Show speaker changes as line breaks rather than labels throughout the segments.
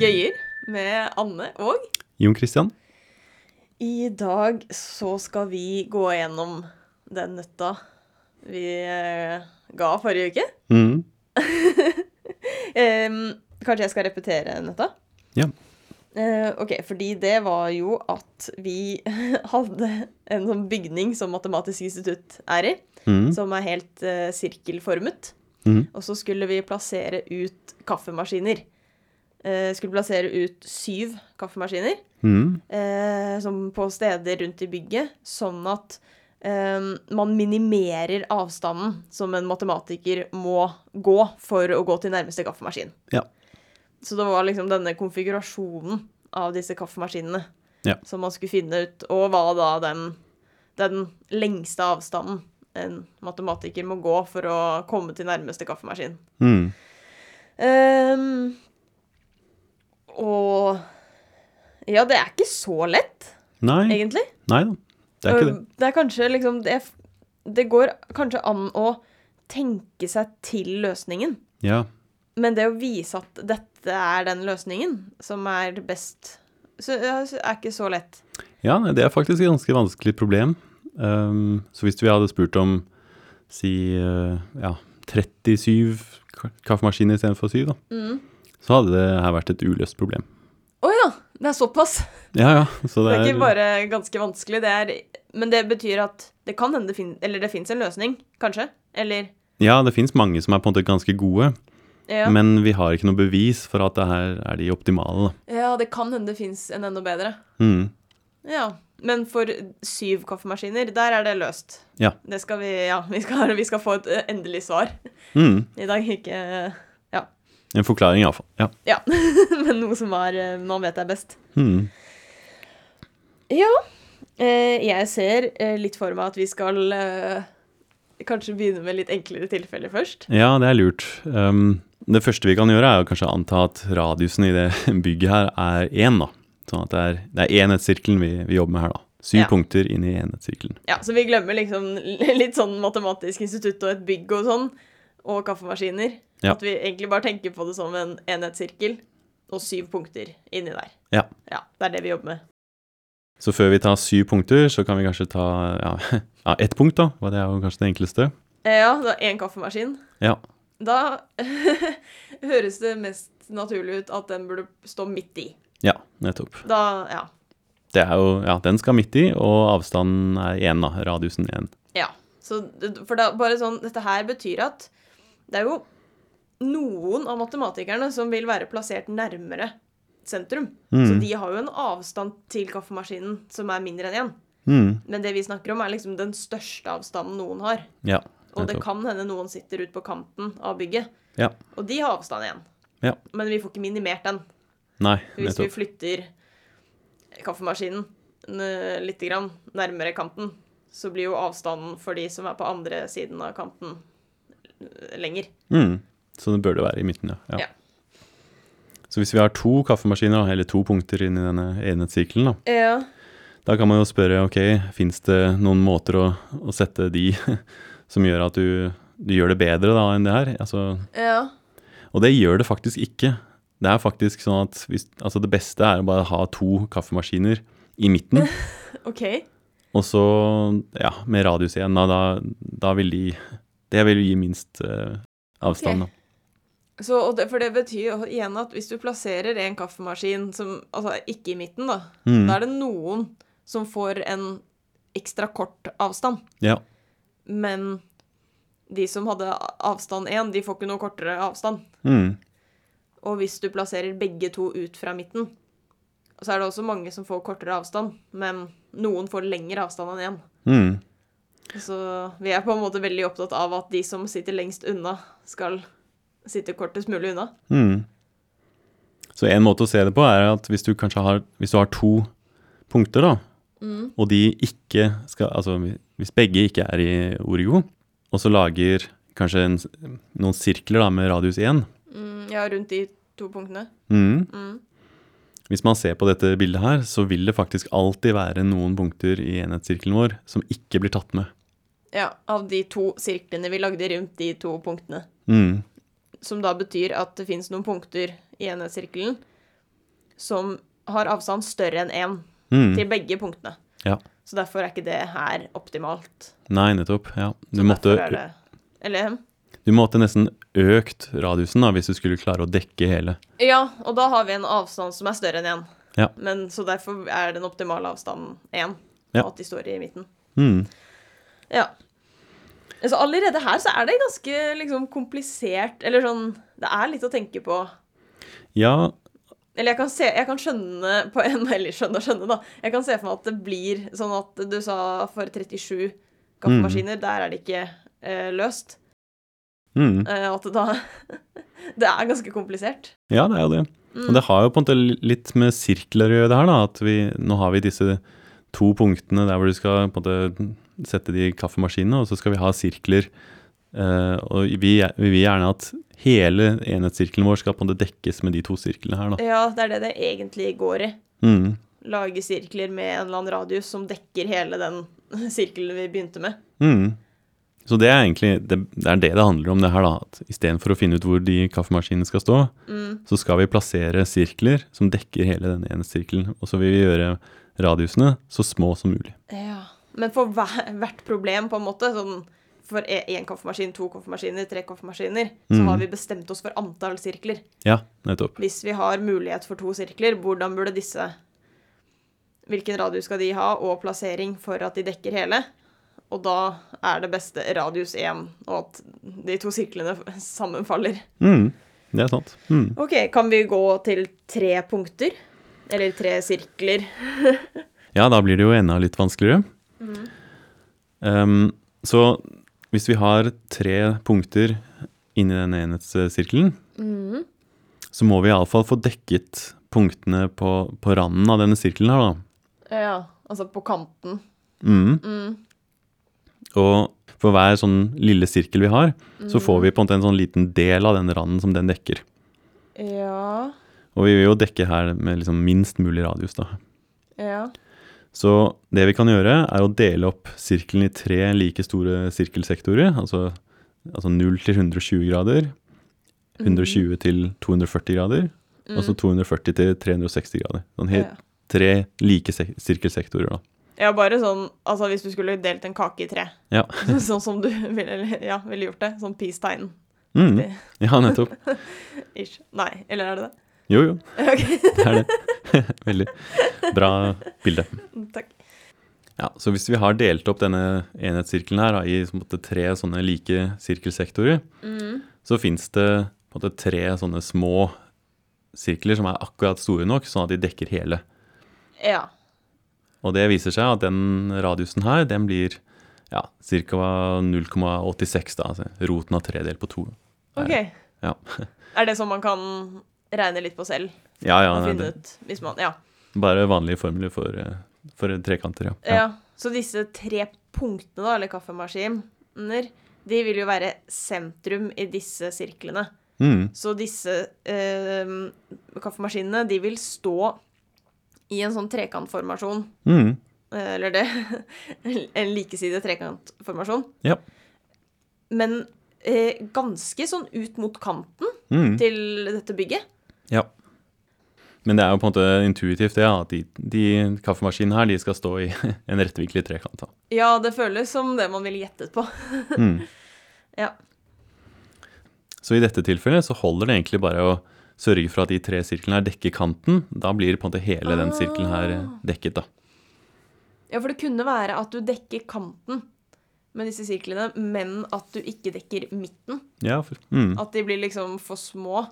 eh, med Anne og
Jon Christian,
I dag så skal vi gå gjennom den nøtta vi eh, ga forrige uke.
mm.
Em, kanskje jeg skal repetere nøtta?
Ja.
Eh, ok, fordi det var jo at vi hadde en sånn bygning som Matematisk institutt er i,
Mm.
som er helt eh, sirkelformet.
Mhm.
Og så skulle vi plassere ut kaffemaskiner. Eh, skulle plassere ut syv kaffemaskiner.
Mm.
eh, som på steder rundt i bygget, sånn at eh, man minimerer avstanden som en matematiker må gå for å gå til nærmeste kaffemaskin.
Ja.
Så det var liksom denne konfigurasjonen av disse kaffemaskinene
Ja.
som man skulle finne ut, og hva da den, den lengste avstanden en matematiker må gå for å komme til nærmeste kaffemaskin.
Mm.
Ehm, og Ja, det er ikke så lett,
Nei.
egentlig.
Nei da, det er ikke det.
Og det er kanskje liksom det, det går kanskje an å tenke seg til løsningen,
Ja.
men det å vise at dette er den løsningen som er best, så, ja, så er ikke så lett.
ja, nei, det er faktisk et ganske vanskelig problem. Um, så hvis vi hadde spurt om si eh, ja, 37 ka- kaffemaskiner istedenfor 7, da,
Mm.
så hadde det her vært et uløst problem.
Å ja! Det er såpass.
Ja, ja. Så
Det
det
er ikke
er
bare ganske vanskelig, det er Men det betyr at det kan hende det finnes Eller det fins en løsning, kanskje? Eller
Ja, det fins mange som er på en måte ganske gode,
Ja,
men vi har ikke noe bevis for at det her er de optimale. da.
ja det kan hende det fins en enda bedre.
Mm.
Ja, men for syv kaffemaskiner, der er det løst.
Ja.
Det skal vi, ja, vi skal, vi skal få et eh, endelig svar
Mm.
i dag, ikke eh, Ja.
En forklaring, iallfall. Ja.
ja. men noe som er eh, man vet er best.
Mm.
Ja. eh, Jeg ser eh, litt for meg at vi skal eh, kanskje begynne med litt enklere tilfeller først.
Ja, det er lurt. Um, det første vi kan gjøre, er jo kanskje å anta at radiusen i det bygget her er én, da. Sånn at det er, det er enhetssirkelen vi, vi jobber med her, da. Syv
Ja.
punkter inn i enhetssirkelen.
Ja, Så vi glemmer liksom litt sånn matematisk institutt og et bygg og sånn, og kaffemaskiner.
Ja.
At vi egentlig bare tenker på det som en enhetssirkel og syv punkter inni der.
Ja.
ja. Det er det vi jobber med.
Så før vi tar syv punkter, så kan vi kanskje ta ja, ja, ett punkt, da. hva Det er jo kanskje det enkleste.
Eh, Ja, det var én kaffemaskin.
Ja.
Da høres det mest naturlig ut at den burde stå midt i.
Ja, nettopp.
Da, ja.
Det er jo, ja, Den skal midt i, og avstanden er én, da. Radiusen én.
ja. Så, det- for da, bare sånn, dette her betyr at det er jo noen av matematikerne som vil være plassert nærmere sentrum. Så
Mm.
de har jo en avstand til kaffemaskinen som er mindre enn én.
Mm.
Men det vi snakker om, er liksom den største avstanden noen har.
Ja,
Og det
nettopp.
kan hende noen sitter ute på kanten av bygget,
Ja.
og de har avstand igjen.
Ja.
Men vi får ikke minimert den.
Nei,
Hvis vi
nettopp.
flytter kaffemaskinen n- litt grann nærmere kanten, så blir jo avstanden for de som er på andre siden av kanten, l- lenger.
Mm. Så det burde være i midten, ja.
Ja.
Så hvis vi har to kaffemaskiner, da, eller to punkter inn i denne enhetssirkelen, da,
Ja.
da kan man jo spørre ok, fins det noen måter å, å sette de som gjør at du, du gjør det bedre da enn det her? Altså,
ja.
og det gjør det faktisk ikke. Det er faktisk sånn at hvis, altså det beste er å bare ha to kaffemaskiner i midten,
OK.
og så ja, med radius igjen, da, da, da vil de Det vil gi minst eh, avstand, da.
Så, og det, for det betyr jo igjen at hvis du plasserer en kaffemaskin som Altså ikke i midten, da.
Mm,
Da er det noen som får en ekstra kort avstand.
ja.
Men de som hadde avstand én, de får ikke noe kortere avstand.
Mm,
Og hvis du plasserer begge to ut fra midten, så er det også mange som får kortere avstand, men noen får lengre avstand enn én.
mm.
Så vi er på en måte veldig opptatt av at de som sitter lengst unna, skal sitte kortest mulig unna.
Mm. Så en måte å se det på er at hvis du kanskje har, hvis du har to punkter, da,
Mm.
og de ikke skal Altså hvis begge ikke er i Origo, og så lager kanskje en, s- noen sirkler da med radius 1
Mm, ja, rundt de to punktene.
mm.
Mm.
Hvis man ser på dette bildet her, så vil det faktisk alltid være noen punkter i enhetssirkelen vår som ikke blir tatt med.
Ja, av de to sirklene vi lagde rundt de to punktene.
Mm.
Som da betyr at det fins noen punkter i enhetssirkelen som har avstand større enn én
Mm.
til begge punktene.
Ja.
Så derfor er ikke det her optimalt.
Nei, nettopp. Ja. Du,
Så
måtte,
derfor er det, Eller
du måtte nesten økt radiusen da, hvis du skulle klare å dekke hele.
Ja, og da har vi en avstand som er større enn én.
Ja.
Men, så derfor er den optimale avstanden én,
Ja.
og at de står i midten.
Mm.
Ja. Så allerede her så er det ganske liksom komplisert, eller sånn Det er litt å tenke på.
Ja,
Eller jeg kan, se, jeg kan skjønne på en, Eller skjønne og skjønne, da. Jeg kan se for meg at det blir sånn at du sa for 37 kaffemaskiner, der er det ikke eh, løst.
mm.
Eh, at det da Det er ganske komplisert.
ja, det er jo det. Og det har jo på en måte li- litt med sirkler å gjøre, det her. da, at vi, Nå har vi disse to punktene der hvor du skal på en måte sette de kaffemaskinene, og så skal vi ha sirkler. Eh, og vi, vi vil gjerne at hele enhetssirkelen vår skal på en måte dekkes med de to sirklene her. da.
Ja, det er det det egentlig går i.
Mm.
Lage sirkler med en eller annen radius som dekker hele den sirkelen vi begynte med.
Mm. Så det er egentlig det, det er det det handler om, det her, da. at Istedenfor å finne ut hvor de kaffemaskinene skal stå, så skal vi plassere sirkler som dekker hele den ene sirkelen. Og så vil vi gjøre radiusene så små som mulig.
Ja. Men for hver, hvert problem, på en måte, sånn for én kaffemaskin, to kaffemaskiner, tre kaffemaskiner, så
Mm.
har vi bestemt oss for antall sirkler.
Ja, nettopp.
Hvis vi har mulighet for to sirkler, hvordan burde disse Hvilken radius skal de ha, og plassering for at de dekker hele? Og da er det beste radius 1, og at de to sirklene sammenfaller.
Mm. Det er sant. Mm.
OK, kan vi gå til tre punkter? Eller tre sirkler?
Ja, da blir det jo enda litt vanskeligere. Mm. Um, så hvis vi har tre punkter inni den enhetssirkelen, så må vi iallfall få dekket punktene på, på randen av denne sirkelen her, da.
Ja, altså på kanten.
Mm. Og for hver sånn lille sirkel vi har, så får vi på en måte en sånn liten del av den randen som den dekker.
Ja
Og vi vil jo dekke her med liksom minst mulig radius, da.
Ja.
Så det vi kan gjøre, er å dele opp sirkelen i tre like store sirkelsektorer, altså, altså 0 til 120 grader, 120 til 240 grader, og så 240 til 360 grader. Sånn helt
Ja.
tre like sek sirkelsektorer, da.
Ja, bare sånn Altså, hvis du skulle delt en kake i tre,
Ja.
sånn som du ville, eller, ja, ville gjort det. Sånn peace-tegn-ish.
Mm. ja, nettopp.
Nei, eller er det det?
Jo, jo.
Ok,
Det er det. Veldig bra bilde.
takk.
Ja, så hvis vi har delt opp denne enhetssirkelen her da, i på en måte, tre sånne like sirkelsektorer, så fins det på en måte, tre sånne små sirkler som er akkurat store nok, sånn at de dekker hele.
Ja.
Og det viser seg at den radiusen her, den blir ja, ca. 0,86, da, altså roten av tre delt på to.
OK.
Ja,
Er det sånn man kan regne litt på selv?
ja, ja
Og
nei,
finne
det,
ut hvis man Ja.
bare vanlige formler for, eh, for trekanter, ja.
ja. Så disse tre punktene, da, eller kaffemaskiner, de vil jo være sentrum i disse sirklene.
Mm,
Så disse eh, kaffemaskinene, de vil stå i en sånn trekantformasjon.
mm,
Eh, Eller det En likesidet trekantformasjon.
ja.
Men eh, ganske sånn ut mot kanten
Mm.
til dette bygget.
Ja. Men det er jo på en måte intuitivt det, ja, at de, de kaffemaskinene her de skal stå i en rettvinklet trekant. da.
Ja, det føles som det man ville gjettet på.
Mm.
Ja.
Så i dette tilfellet så holder det egentlig bare å sørge for at de tre sirklene her dekker kanten. Da blir på en måte hele den sirkelen her eh,
Ah.
dekket, da.
ja, for det kunne være at du dekker kanten med disse sirklene, men at du ikke dekker midten.
Ja, for, mm,
At de blir liksom for små.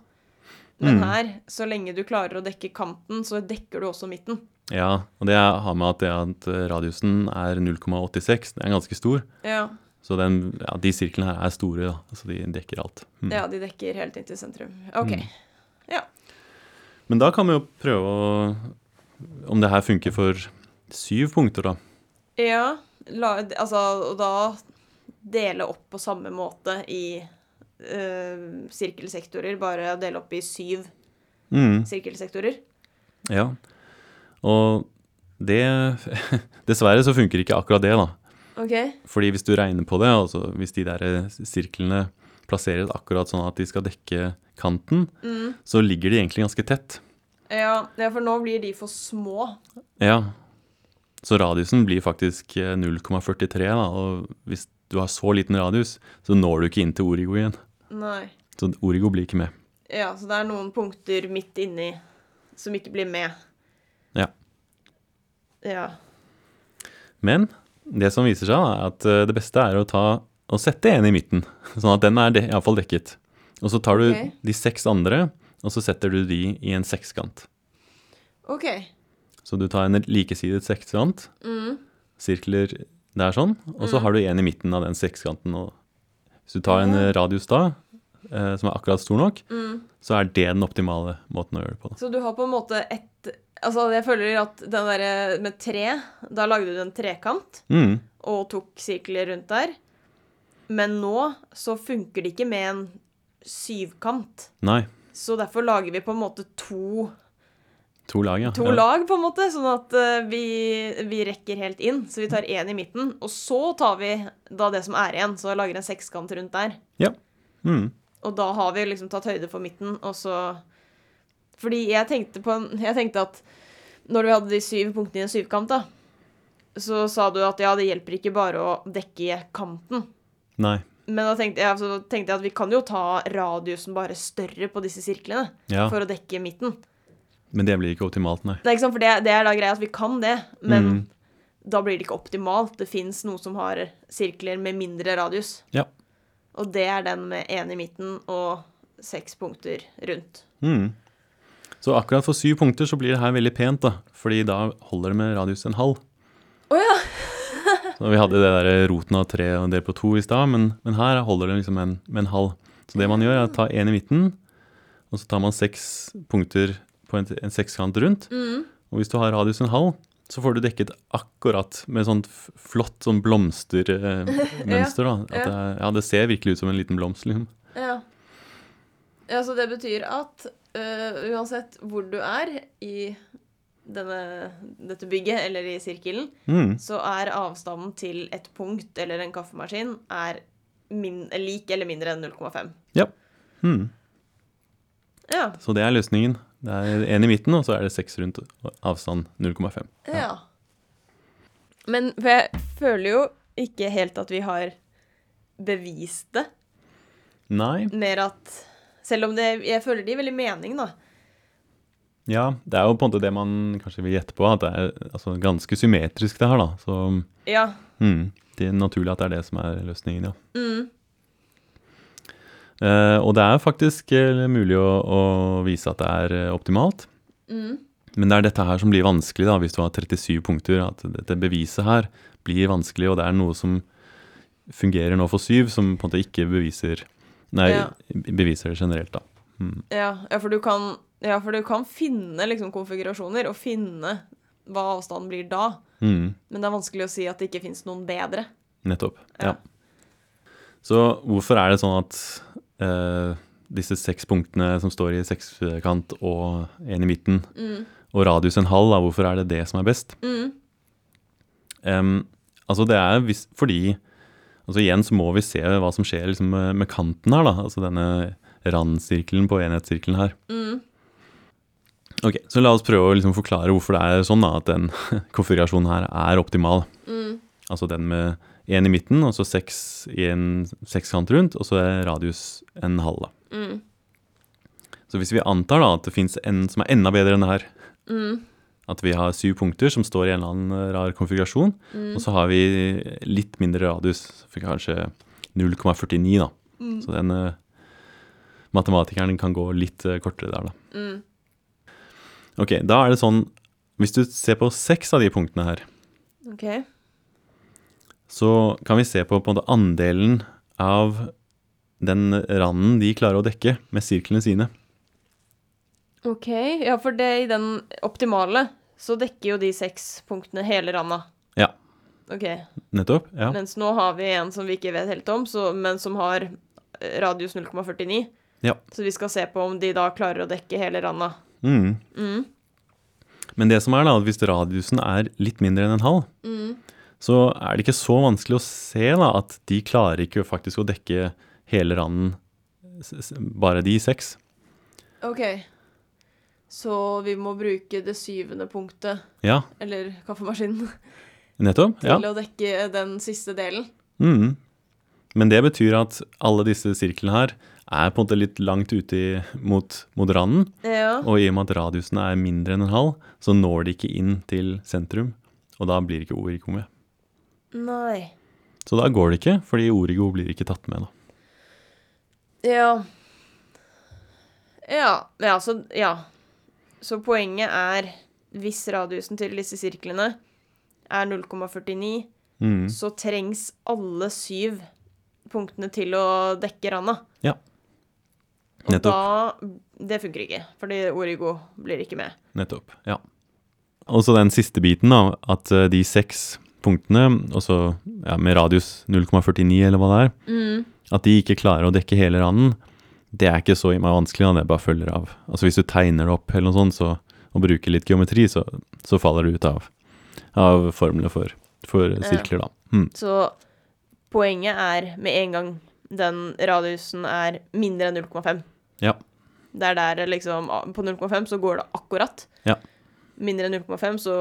Men
Mm.
her, så lenge du klarer å dekke kanten, så dekker du også midten.
ja, og det har med at, det at eh, radiusen er 0,86, den er ganske stor.
Ja.
Så den, ja, de sirklene her er store, da, så de dekker alt. Mm.
ja, de dekker helt inn til sentrum. OK. Ja.
Men da kan vi jo prøve å, om det her funker for syv punkter, da.
Ja, la, altså og da dele opp på samme måte i eh, sirkelsektorer, bare dele opp i syv
Mm,
sirkelsektorer.
ja. Og det Dessverre så funker ikke akkurat det, da.
OK.
Fordi hvis du regner på det, altså hvis de der sirklene plasseres akkurat sånn at de skal dekke kanten, så ligger de egentlig ganske tett.
Mm. Ja, ja, for nå blir de for små.
Ja. Så radiusen blir faktisk eh, 0,43, da, og hvis du har så liten radius, så når du ikke inn til Origo igjen.
Nei.
Så Origo blir ikke med.
Ja, så det er noen punkter midt inni som ikke blir med.
Ja.
Ja.
Men det som viser seg, da, er at eh, det beste er å ta og sette en i midten, sånn at den er de, iallfall dekket. Og så tar du
Ok.
de seks andre, og så setter du de i en sekskant.
OK.
Så du tar en likesidet sekskant,
Mm.
sirkler der sånn, og så har du en i midten av den sekskanten. Og hvis du tar en eh, radius da, eh, som er akkurat stor nok,
Mm.
så er det den optimale måten å gjøre det på. Da.
Så du har på en måte ett Altså, jeg føler at den derre med tre Da lagde du en trekant
Mm.
og tok sirkler rundt der. Men nå så funker det ikke med en syvkant.
Nei,
Så derfor lager vi på en måte to,
to lag, ja.
to
Ja.
lag, på en måte. Sånn at eh, vi, vi rekker helt inn. Så vi tar én i midten. Og så tar vi da det som er igjen, så lager en sekskant rundt der.
Ja. Mm.
Og da har vi liksom tatt høyde for midten, og så Fordi jeg tenkte på en Jeg tenkte at når vi hadde de syv punktene i en syvkant, da, så sa du at ja, det hjelper ikke bare å dekke kanten.
Nei.
Men da tenkte jeg, så tenkte jeg at vi kan jo ta radiusen bare større på disse sirklene
Ja.
for å dekke midten.
Men det blir ikke optimalt, nei.
Nei, ikke sant? For det, det er da greia at vi kan det, men
Mm.
da blir det ikke optimalt. Det fins noe som har sirkler med mindre radius,
Ja.
og det er den med én i midten og seks punkter rundt.
Mm. Så akkurat for syv punkter så blir det her veldig pent, da. Fordi da holder det med radius en halv.
Å ja!
Så vi hadde det der roten av tre og delt på to i stad, men, men her holder det liksom en, med en halv. Så det man gjør, er å ta én i midten, og så tar man seks punkter på en, en sekskant rundt.
Mm.
Og hvis du har radius en halv, så får du dekket akkurat med sånt f- flott sånn blomstermønster. Eh, mønster, da. At det, er- ja, det ser virkelig ut som en liten blomst, liksom.
Ja. ja, så det betyr at øh, uansett hvor du er i denne, dette bygget, eller i sirkelen,
Mm.
så er avstanden til et punkt eller en kaffemaskin er min, lik eller mindre enn 0,5.
Ja. Mm.
Ja,
Så det er løsningen. Det er én i midten, og så er det seks rundt og avstand 0,5.
ja. Men for jeg føler jo ikke helt at vi har bevist det.
Nei.
Mer at Selv om det, jeg føler det gir veldig mening, da.
Ja, det er jo på en måte det man kanskje vil gjette på, at det er altså, ganske symmetrisk det her, da. Så
Ja.
mm, det er naturlig at det er det som er løsningen, ja.
Mm.
Eh, og det er faktisk eh, mulig å, å vise at det er eh, optimalt.
Mm.
Men det er dette her som blir vanskelig da, hvis du har 37 punkter. At dette beviset her blir vanskelig, og det er noe som fungerer nå for syv, som på en måte ikke beviser Nei,
Ja.
beviser det generelt, da.
Ja, ja, for du kan, ja, for du kan finne liksom, konfigurasjoner og finne hva avstanden blir da.
Mm,
Men det er vanskelig å si at det ikke fins noen bedre.
nettopp.
Ja.
Ja. Så hvorfor er det sånn at eh, disse seks punktene som står i sekskant og en i midten, og radius en halv, da, hvorfor er det det som er best? Em, altså det er hvis, fordi altså Igjen så må vi se hva som skjer liksom med, med kanten her, da. Altså denne randsirkelen på enhetssirkelen her. Ok, Så la oss prøve å liksom forklare hvorfor det er sånn da, at den konfigurasjonen her er optimal. Altså den med én i midten, og så seks i en sekskant rundt, og så er radius en halv. da. Så hvis vi antar da at det fins en som er enda bedre enn det her, at vi har syv punkter som står i en eller annen rar konfigurasjon, og så har vi litt mindre radius, for kanskje 0,49 da. Så den eh, matematikeren kan gå litt eh, kortere der da. Ok, da er det sånn, hvis du ser på seks av de punktene her,
Ok.
så kan vi se på, på en måte andelen av den randen de klarer å dekke med sirklene sine.
Ok, Ja, for det i den optimale så dekker jo de seks punktene hele randa.
Ja,
Ok,
nettopp. Ja.
Mens nå har vi en som vi ikke vet helt om, så, men som har eh, radius 0,49.
Ja.
Så vi skal se på om de da klarer å dekke hele randa.
Mm.
Mm.
Men det som er da, at hvis radiusen er litt mindre enn en halv, så er det ikke så vanskelig å se da, at de klarer ikke faktisk å dekke hele randen, s- s- bare de seks.
Ok. Så vi må bruke det syvende punktet,
Ja,
eller kaffemaskinen,
nettopp.
til
Ja.
å dekke eh, den siste delen.
Mm. Men det betyr at alle disse sirklene her er på en måte litt langt ute i, mot, mot randen.
Ja.
Og i og med at radiusen er mindre enn en halv, så når de ikke inn til sentrum. Og da blir ikke origo med.
Nei.
Så da går det ikke, fordi origo blir ikke tatt med. da.
Ja. Ja, ja, så, ja. Så poenget er hvis radiusen til disse sirklene er 0,49,
Mm.
så trengs alle syv punktene til å dekke randa.
Ja.
Og
Nettopp.
da Det funker ikke, fordi Origo blir ikke med.
Nettopp. Ja. Og så den siste biten, da. At eh, de seks punktene, også ja, med radius 0,49 eller hva det er, at de ikke klarer å dekke hele randen, det er ikke så i meg vanskelig, da. det bare følger av. Altså hvis du tegner det opp eller noe sånt, så, og bruker litt geometri, så, så faller det ut av, av formlene for, for sirkler, da. Mm.
Så poenget er med en gang den radiusen er mindre enn 0,5.
Ja.
Det er der det liksom På 0,5 så går det akkurat.
Ja.
Mindre enn 0,5 så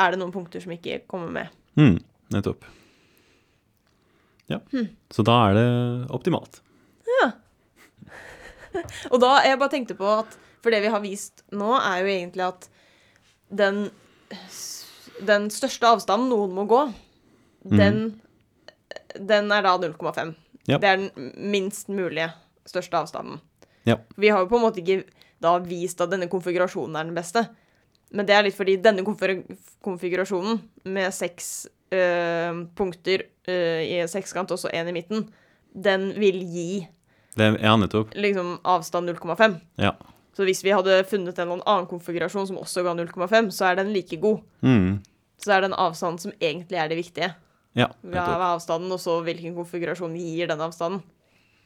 er det noen punkter som ikke kommer med.
Mm. Nettopp. Ja. Så da er det optimalt.
Og da jeg bare tenkte på at For det vi har vist nå, er jo egentlig at den, den største avstanden noen må gå, den, den er da 0,5.
Mhm. Ja.
Det er den minst mulige største avstanden.
Ja.
Vi har jo på en måte ikke da vist at denne konfigurasjonen er den beste. Men det er litt fordi denne konfir- konfigurasjonen med seks øh, punkter øh, i en sekskant og så én i midten, den vil gi
Det, ja, nettopp.
liksom avstand 0,5.
Ja.
Så hvis vi hadde funnet en eller annen konfigurasjon som også ga 0,5, så er den like god.
Mm.
Så det er den avstanden som egentlig er det viktige.
Ja,
Hva
nettopp.
er avstanden, og så hvilken konfigurasjon gir den avstanden.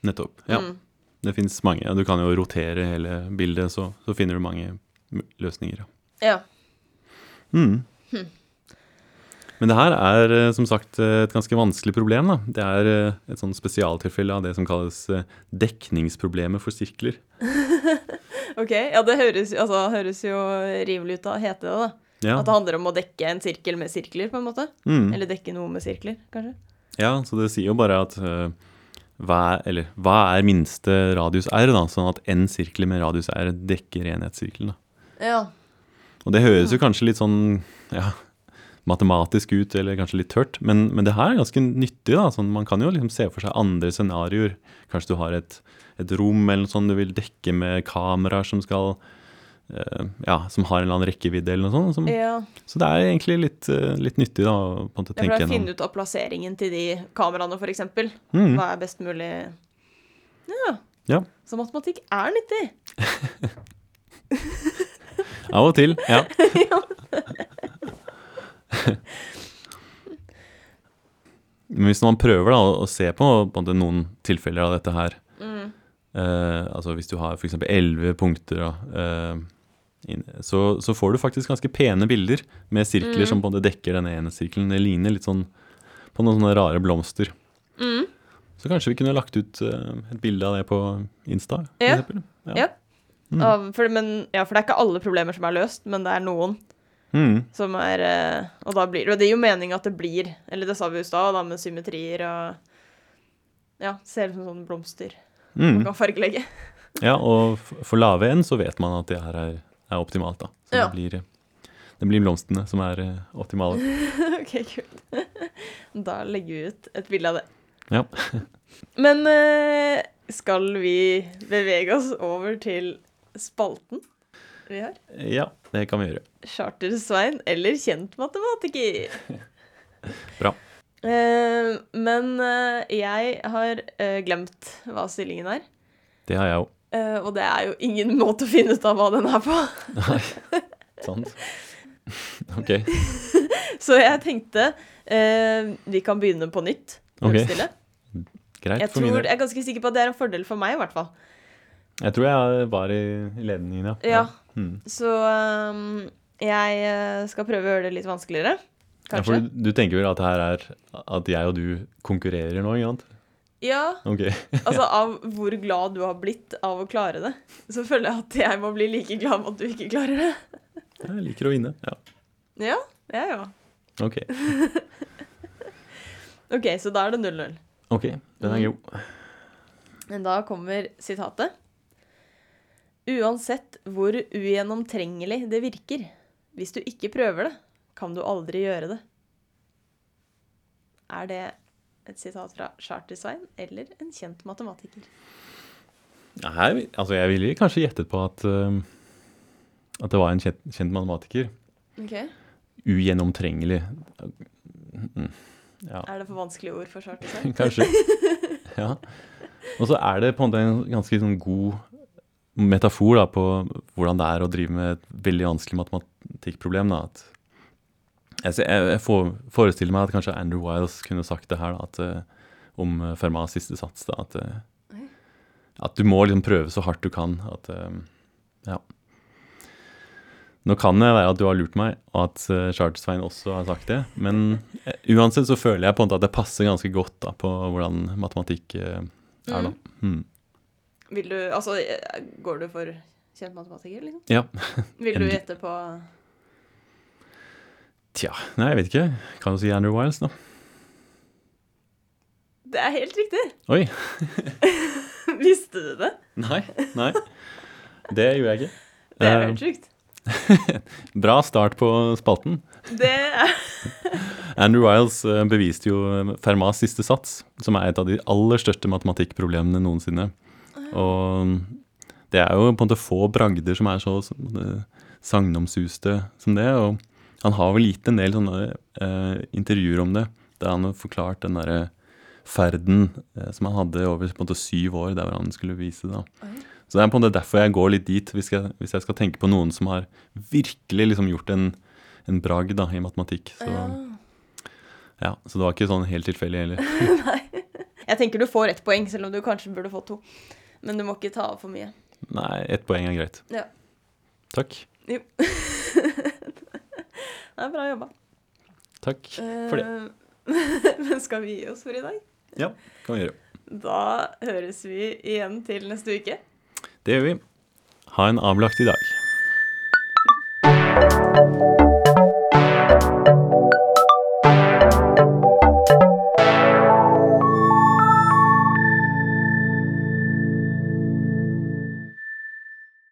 nettopp. Ja.
Mm.
Det fins mange. og Du kan jo rotere hele bildet, så, så finner du mange m- løsninger. Ja.
Ja.
Mm. Men det her er eh, som sagt eh, et ganske vanskelig problem. Da. Det er eh, et sånn spesialtilfelle av det som kalles eh, dekningsproblemet for sirkler.
OK. Ja, det høres, altså, høres jo rimelig ut av å hete det, da.
Ja.
At det handler om å dekke en sirkel med sirkler, på en måte.
Mm.
Eller dekke noe med sirkler, kanskje.
ja, så det sier jo bare at eh, hva er, eller, hva er minste radius r, da? sånn at n sirkel med radius r dekker enhetssirkelen. Da.
Ja.
Og det høres jo kanskje litt sånn ja, matematisk ut, eller kanskje litt tørt, men, men det her er ganske nyttig. da, sånn, Man kan jo liksom se for seg andre scenarioer. Kanskje du har et, et rom eller noe sånt du vil dekke med kameraer som skal eh, ja, som har en eller annen rekkevidde eller noe sånt. Som,
ja.
Så det er egentlig litt, eh, litt nyttig da, å på en måte
Jeg pleier
tenke
å
gjennom.
finne ut av plasseringen til de kameraene, for eksempel.
Mm.
Hva er best mulig Ja.
Ja.
Så matematikk er nyttig.
Av og til, ja. Men hvis man prøver da, å se på, på en måte noen tilfeller av dette her eh, Altså hvis du har f.eks. elleve punkter, da, eh, inn- så, så får du faktisk ganske pene bilder med sirkler som på en måte dekker denne ene sirkelen. Det ligner litt sånn på noen sånne rare blomster. Mm. Så kanskje vi kunne lagt ut eh, et bilde av det på Insta? for
Ja.
eksempel. Ja.
Ja. Av- for, men, ja, for det er ikke alle problemer som er løst, men det er noen
Mm.
som er eh, Og da blir og det gir jo mening at det blir Eller det sa vi jo i stad, da, med symmetrier og Ja, ser ut som sånne blomster
Mm.
man kan fargelegge.
Ja, og f- for lave n så vet man at det her er, er optimalt, da. Så
Ja.
det, blir, det blir blomstene som er eh, optimale.
OK, kult. Da legger vi ut et bilde av det.
Ja.
Men eh, skal vi bevege oss over til spalten vi har?
ja, det kan vi gjøre.
Charter-Svein eller kjent matematiker?
Bra.
Eh, men eh, jeg har eh, glemt hva stillingen er.
Det har jeg òg.
Eh, og det er jo ingen måte å finne ut av hva den er på.
Sant? Ok.
Så jeg tenkte eh, vi kan begynne på nytt.
Ok,
nullstille.
Greit
Jeg,
for min
tror, jeg
del.
er ganske sikker på at det er en fordel for meg, i hvert fall.
Jeg tror jeg var i i ledningen, ja.
Ja.
Mm.
Så eh, jeg eh, skal prøve å gjøre det litt vanskeligere.
Ja, for
Kanskje.
du, du tenker vel at det her er at jeg og du konkurrerer nå, ikke sant?
Ja,
Ok.
altså av hvor glad du har blitt av å klare det, så føler jeg at jeg må bli like glad med at du ikke klarer det.
Jeg liker å vinne. Ja.
Ja, jeg ja, òg.
Ok.
OK, så da er det 0-0.
Ok, den
Mm.
er god.
Men da kommer sitatet. Uansett hvor ugjennomtrengelig det virker, hvis du ikke prøver det, kan du aldri gjøre det. Er det et sitat fra Charter-Svein eller en kjent matematiker?
Nei, altså jeg ville kanskje gjettet på at, eh, at det var en kjent, kjent matematiker.
Ok.
Ugjennomtrengelig. Mm. Ja.
Er det for vanskelige ord for Charter-Svein?
Kanskje. Ja. Og så er det på en måte en ganske sånn god metafor da, på hvordan det er å drive med et veldig vanskelig matematikkproblem. Da. At jeg, ser- jeg, jeg får- forestiller meg at kanskje Andrew Wiles kunne sagt det her da, at, eh, om eh, Fermats siste sats. Da, at, eh,
Oi.
at du må liksom prøve så hardt du kan. At, eh, ja. Nå kan det være at du har lurt meg, og at eh, Charter-Svein også har sagt det. Men eh, uansett så føler jeg på en måte at det passer ganske godt da, på hvordan matematikk eh, er, da. Mm.
Vil du Altså, går du for kjent matematiker, liksom?
Ja.
Vil du
En-
gjette på
Tja, nei, jeg vet ikke. Kan jo si Andrew Wiles, da.
Det er helt riktig!
Oi.
Visste du det?
Nei. Nei. Det gjorde jeg ikke.
Det er
Eh,
jo helt sjukt.
Bra start på spalten.
Det er
Andrew Wiles eh, beviste jo eh, Fermats siste sats, som er et av de aller største matematikkproblemene noensinne. Og mm, det er jo på en måte få bragder som er så eh, sagnomsuste som det. Og han har vel gitt en del sånne eh, intervjuer om det, der han har forklart den derre ferden eh, som han hadde over på en måte syv år, der hvor han skulle vise det. da. Så det er på en måte derfor jeg går litt dit, hvis jeg, hvis jeg skal tenke på noen som har virkelig liksom gjort en, en bragd da, i matematikk. Så, ja. så det var ikke sånn helt tilfeldig heller.
Jeg tenker du får ett poeng, selv om du kanskje burde fått to. Men du må ikke ta av for mye.
Nei, ett poeng er greit.
Ja.
Takk.
Jo. det er bra jobba.
Takk for det.
Eh, Men skal vi gi oss for i dag?
Ja, kan vi gjøre.
Da høres vi igjen til neste uke.
Det gjør vi. Ha en avlagt i dag.